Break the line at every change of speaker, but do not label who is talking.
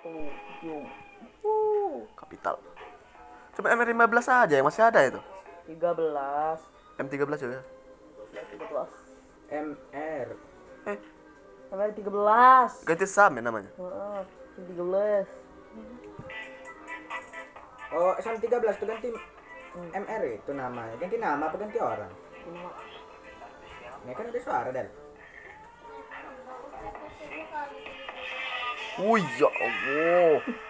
Oh, Yung.
Uh, kapital. Coba MR15 aja yang masih ada itu.
13.
M13 juga.
Ya, 13.
MR
Eh,
Sampai 13.
ganti Sam ya namanya.
Heeh, 13.
oh SM 13 itu ganti MR itu namanya ganti nama apa ganti orang ini kan ada suara dan
Wih, ya Allah.